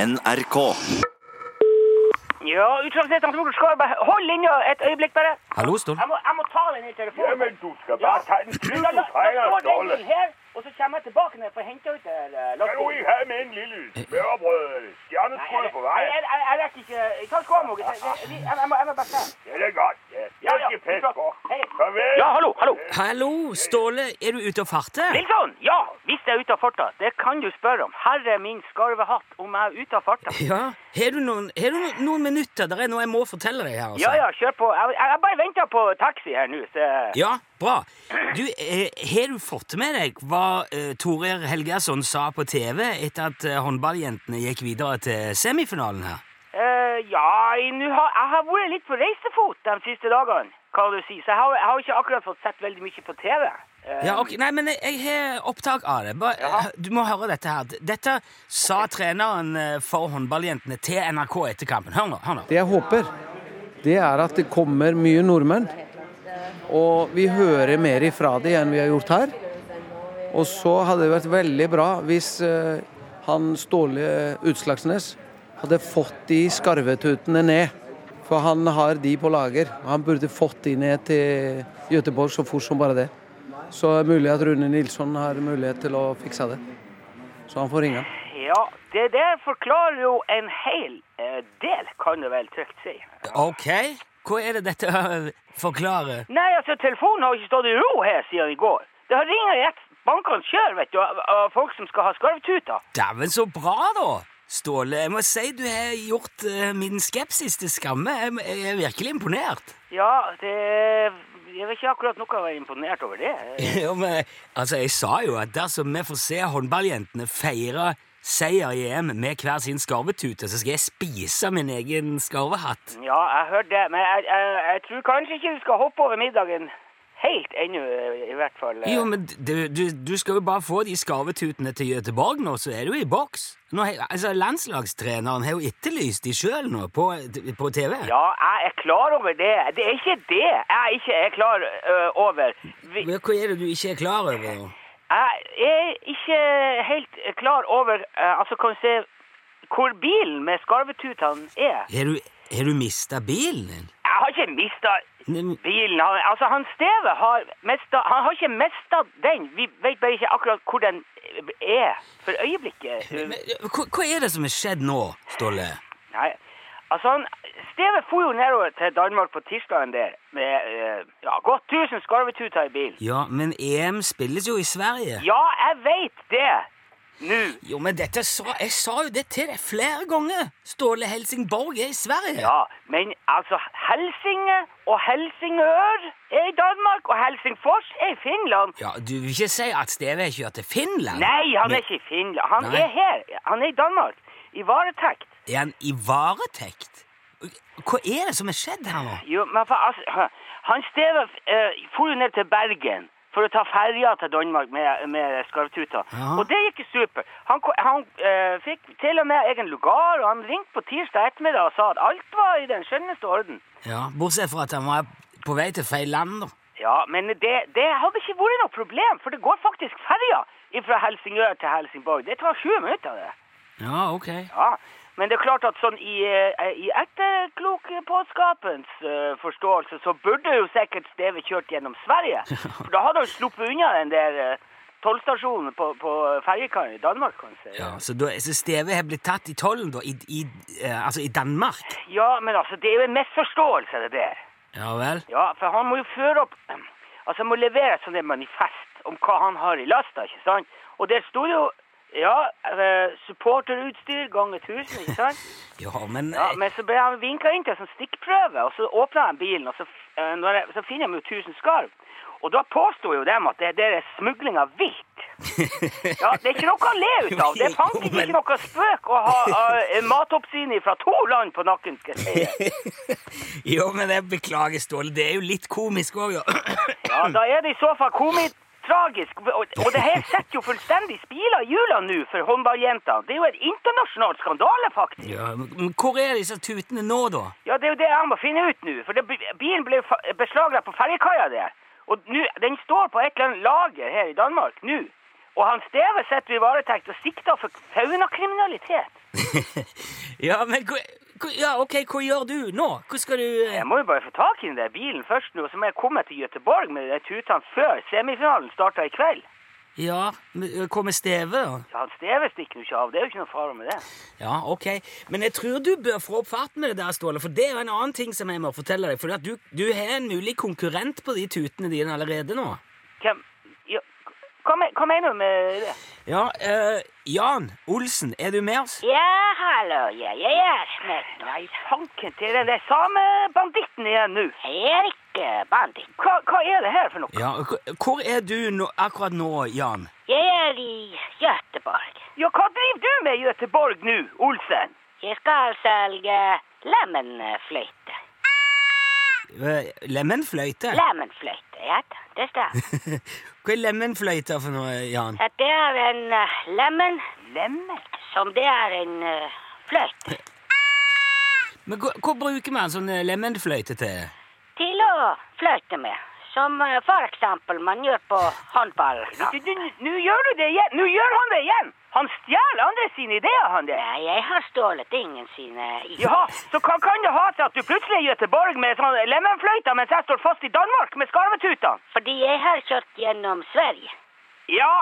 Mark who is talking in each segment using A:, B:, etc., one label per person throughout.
A: NRK.
B: Ja, utslagslederen til Morten Skarberg, hold linja et øyeblikk bare.
C: Hallo, Ståle.
B: Jeg må, jeg må ta den i telefonen.
D: Jamen, du skal bare
B: Ja.
D: tage den.
B: Da-
D: Slut
B: da-
D: du
B: da
D: fejler,
B: står den
D: Ståle.
B: bilen her, og så kommer jeg tilbake ned for å hente ut det her, eh,
D: Kan du
B: lastebilen.
D: ikke have med en lille smørbrød?
B: Nei, jeg,
D: Stjernetrød på vej.
B: jeg, jeg, jeg, jeg rekker ikke Jeg tar skoene, jeg, jeg, jeg, jeg, må, jeg må bare se.
D: Ja, det er godt. Ja, Jeg
B: Ja, ja,
D: skal passe
B: godt.
D: på.
B: Hej.
D: Farvel.
B: Ja, hallo, hallo.
C: Hallo, Ståle. Er du ute og farter?
B: Nilsson, ja, hvis jeg er ute av farta, det kan du spørre om. Herre min skarvehatt, om jeg er ute av farta.
C: Ja. Har du noen, har du no- noen minutter? Det er noe jeg må fortelle deg her. altså.
B: Ja, ja, kjør på. Jeg, jeg, jeg bare venter på taxi her nå, så
C: Ja, bra. Du, eh, har du fått med deg hva eh, Torir Helgason sa på TV etter at eh, håndballjentene gikk videre til semifinalen her?
B: Eh, ja, jeg, nå har, jeg har vært litt på reisefot de siste dagene, kan du si. Så jeg har, jeg har ikke akkurat fått sett veldig mye på TV. Eh,
C: Ja, ok, Nei, men jeg, jeg har opptak av det. Bare, eh,
B: Jaha.
C: Du må høre dette her. Dette sa treneren eh, for håndballjentene til NRK etter kampen. Hør nå. hør nå.
E: Det jeg håper, det er at det kommer mye nordmenn. Og vi hører mer ifra det enn vi har gjort her. Og så hadde det vært veldig bra hvis eh, han Ståle Utslagsnes hadde fått de skarvetutene ned. For han har de på lager. Han burde fått de ned til Göteborg så fort som bare det. Så er det mulig at Rune Nilsson har mulighet til å fikse det. Så han får ringe han.
B: ja, det der forklarer jo en hel eh, del, kan du vel trygt si.
C: Ok. Hva er det dette eh, forklarer?
B: Nei, altså, telefonen har ikke stått i ro her siden i går. Det har ringt i ett bankene sjøl, vet du, av, av folk som skal ha skarvtuter.
C: Dæven, så bra, da! Ståle, jeg må si du har gjort eh, min skepsis til skamme. Jeg, jeg er virkelig imponert.
B: Ja, det Jeg vil ikke akkurat noe være imponert over det.
C: Ja, men, altså, jeg sa jo at dersom vi får se håndballjentene feire seier i EM med hver sin skarvetute, så skal jeg spise min egen skarvehatt.
B: Ja, jeg hørte det, men jeg, jeg, jeg tror kanskje ikke du skal hoppe over middagen helt ennå, i hvert fall.
C: Jo, men du, du, du skal jo bare få de skarvetutene til Göteborg nå, så er du i boks. Nå, har- altså, landslagstreneren har jo etterlyst de sjøl nå, på, på TV.
B: Ja, jeg er klar over det. Det er ikke det jeg ikke er klar ø, over. Vi,
C: Men Hva er det du ikke er klar over nå?
B: jeg er ikke helt klar over ø, Altså, kan du se hvor bilen med skarvetutene er?
C: Har du, har du mista bilen din?
B: Jeg har ikke mista
C: Men-
B: bilen. Han, altså, han Steve har mista Han har ikke mista den. Vi vet bare ikke akkurat hvor den er for øyeblikket.
C: Men, Hva, hva er det som er skjedd nå, Ståle?
B: Nei, altså han, Steve for jo nedover til Danmark på tirsdagen der med eh, ja, godt 1000 skarvetuter i bilen.
C: Ja, men EM spilles jo i Sverige.
B: Ja, jeg vet det nå.
C: Jo, men dette sa, jeg sa jo det til deg flere ganger! Ståle Helsingborg er i Sverige.
B: Ja, men altså Helsinge og Helsingør er i Danmark, og Helsingfors er i Finland.
C: Ja, Du vil ikke si at Steve har kjørt til Finland?
B: Nei, han
C: Men
B: er ikke i Finland. Han
C: Nei.
B: er her. Han er i Danmark. I varetekt.
C: Er han i varetekt? Hva er det som er skjedd her nå?
B: Jo, men for, altså, han Steve eh, for jo ned til Bergen for å ta ferja til Danmark med, med skarvtuta.
C: Ja.
B: Og det gikk jo super. Han, ko- han eh, fikk til og med egen lugar, og han ringte på tirsdag ettermiddag og sa at alt var i den skjønneste orden.
C: Ja, Bortsett fra at han var på vei til feil land, da.
B: Ja, men det, det hadde ikke vært noe problem, for det går faktisk ferja fra Helsingør til Helsingborg. Det tar sju minutter, det.
C: Ja, ok.
B: Ja, men det er klart at sånn i, eh, i etterklokskapens eh, forståelse, så burde jo sikkert Steve kjørt gjennom Sverige. For da hadde han sluppet unna den der eh, tollstasjonen på, på ferjekaien i Danmark, kan du si.
C: Ja, så, da, så Steve har blitt tatt i tollen, da? I, i, eh, altså i Danmark?
B: ja, men altså, det er jo en misforståelse, det der.
C: Ja vel?
B: Ja, for han må jo føre opp Altså, han må levere et sånt der manifest om hva han har i lasta, ikke sant? Og der sto jo ja, eh, supporterutstyr ganger 1000, ikke sant?
C: Ja, men
B: Ja, men så ble han vinka inn til en sånn stikkprøve, og så åpna han bilen, og så, f- eh, når jeg, så finner de jo 1000 skarv. Og da påsto jo dem at det, det er smugling av vilt. Ja, Det er ikke noe å le ut av. Det er fanken ikke noe spøk å ha uh, matoppsynet fra to land på nakken. skal jeg si.
C: Jo, men jeg beklager, Ståle. Det er jo litt komisk òg, da.
B: Ja, Da er det i så fall komitragisk. Og, og det her setter jo fullstendig spiler i hjulene nå for håndballjentene. Det er jo en internasjonal skandale, faktisk.
C: Ja, men hvor er disse tutene nå, da?
B: Ja, det er jo det jeg må finne ut nå. For det, bilen ble jo fa- beslaglagt på ferjekaia der. Og nå, den står på et eller annet lager her i Danmark nå. Og han Steve sitter i varetekt og sikta for faunakriminalitet.
C: ja, men hva, hva, ja, ok, hva gjør du nå? Hva skal du eh,
B: Jeg må jo bare få tak i den der bilen først nå, så må jeg komme til Gøteborg med de der tutene før semifinalen starter i kveld.
C: Ja, men hva med Steve, da?
B: Så han Steve stikker jo ikke av. Det er jo ikke noe fare med det.
C: Ja, ok. Men jeg tror du bør få opp farten med det der, Ståle, for det er en annen ting som jeg må fortelle deg. For at du, du har en mulig konkurrent på de tutene dine allerede nå.
B: Hvem ja, hva, me- hva mener du med det?
C: Ja, eh, Jan Olsen, er du med oss?
B: Ja, hallo, ja, jeg er med. Nei, fanken til den der samme banditten igjen nå. Jeg er ikke banditt. Hva, hva er det her for noe?
C: Ja, hvor- hvor er du nå, akkurat nå, Jan?
A: Jeg er i Göteborg.
B: Ja, hva driver du med i Gøteborg nå, Olsen?
A: Jeg skal selge lemenfløyte.
C: Eh, Lemenfløyte?
A: Lemenfløyte, ja da, det stemmer.
C: Hva er lemenfløyte for noe, Jan?
A: At det er en eh, lemen
B: Lemmer?
A: som det er en eh, fløyte
C: Men hva, hva bruker man sånn eh, lemenfløyte til?
A: til å fløyte med. Som eh, for eksempel man gjør på håndball.
B: Du- du- du- Nå gjør du det igjen! Nå gjør han det igjen! Han stjeler andre sine ideer, han der.
A: Nei, Eh, jeg har stjålet ingen sine ideer.
B: Jaha, så hva kan det ha til at du plutselig er i Gøteborg med sånn lemenfløyta, mens jeg står fast i Danmark med skarvetutene?
A: Fordi jeg har kjørt gjennom Sverige.
B: Ja,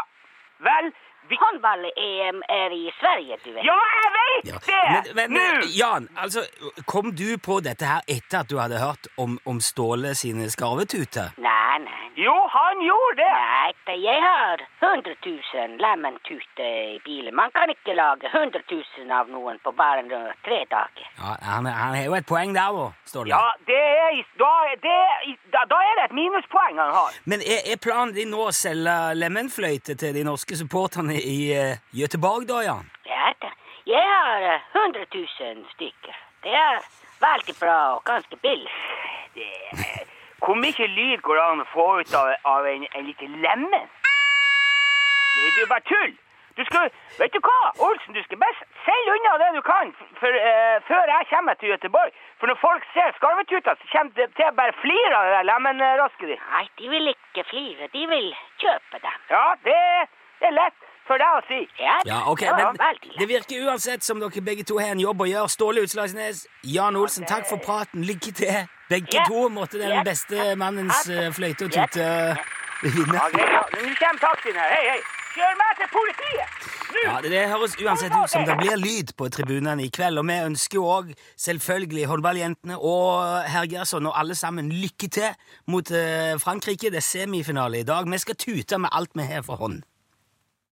B: vel vi...
A: Håndball-EM er i Sverige, du vet.
B: Ja, jeg veit
C: Ja,
B: det!
C: Men, men eh,
B: Nå!
C: Jan, altså, kom du på dette her etter at du hadde hørt om, om Ståle sine skarvetuter?
A: Nei, nei.
B: Jo, han gjorde det!
A: Nei, da, jeg har 100 000 lementuter i bilen. Man kan ikke lage 100 000 av noen på bare noe, tre dager.
C: Ja, han, han har jo et poeng der, da, Ståle.
B: Ja, det er, i- da, er- det, er i- da, da er det et minuspoeng han har.
C: Men er, er planen din nå å selge lemenfløyte til de norske supporterne i eh, Göteborg, da, Jan?
A: Ja, da. Jeg har eh, 100 000 stykker. Det er veldig bra og ganske billig.
B: Det- Hvor mye lyd går det an å få ut av, av en, en liten lemen? Det det er bare tull! Du skal, vet du hva, Olsen, du skal best selge unna det du kan f- for, eh, før jeg kommer til Göteborg. For når folk ser skarvetuta, så kommer de til å bare flire av det der lemenrasket ditt.
A: Nei, de vil ikke flire. De vil kjøpe dem.
B: Ja, det, det er lett for deg å si.
A: Ja, da.
C: Ja, ok,
A: Ja,
C: men
A: veldig.
C: det virker uansett som dere begge to har en jobb å gjøre. Ståle Utslagsnes, Jan Olsen, takk for praten. Lykke til. Begge
A: Ja.
C: to måtte den
A: Ja.
C: beste mannens eh, fløyte og tute
B: Ja,
C: vinne.
B: greit, ja. Nå kommer taxien her. Hei, hei. Kjør meg til politiet! Nå!
C: Ja, det, det høres uansett ut som det blir lyd på tribunene i kveld, og vi ønsker jo òg selvfølgelig håndballjentene og Hergersson og alle sammen lykke til mot eh, Frankrike. Det er semifinale i dag. Vi skal tute med alt vi har for hånd.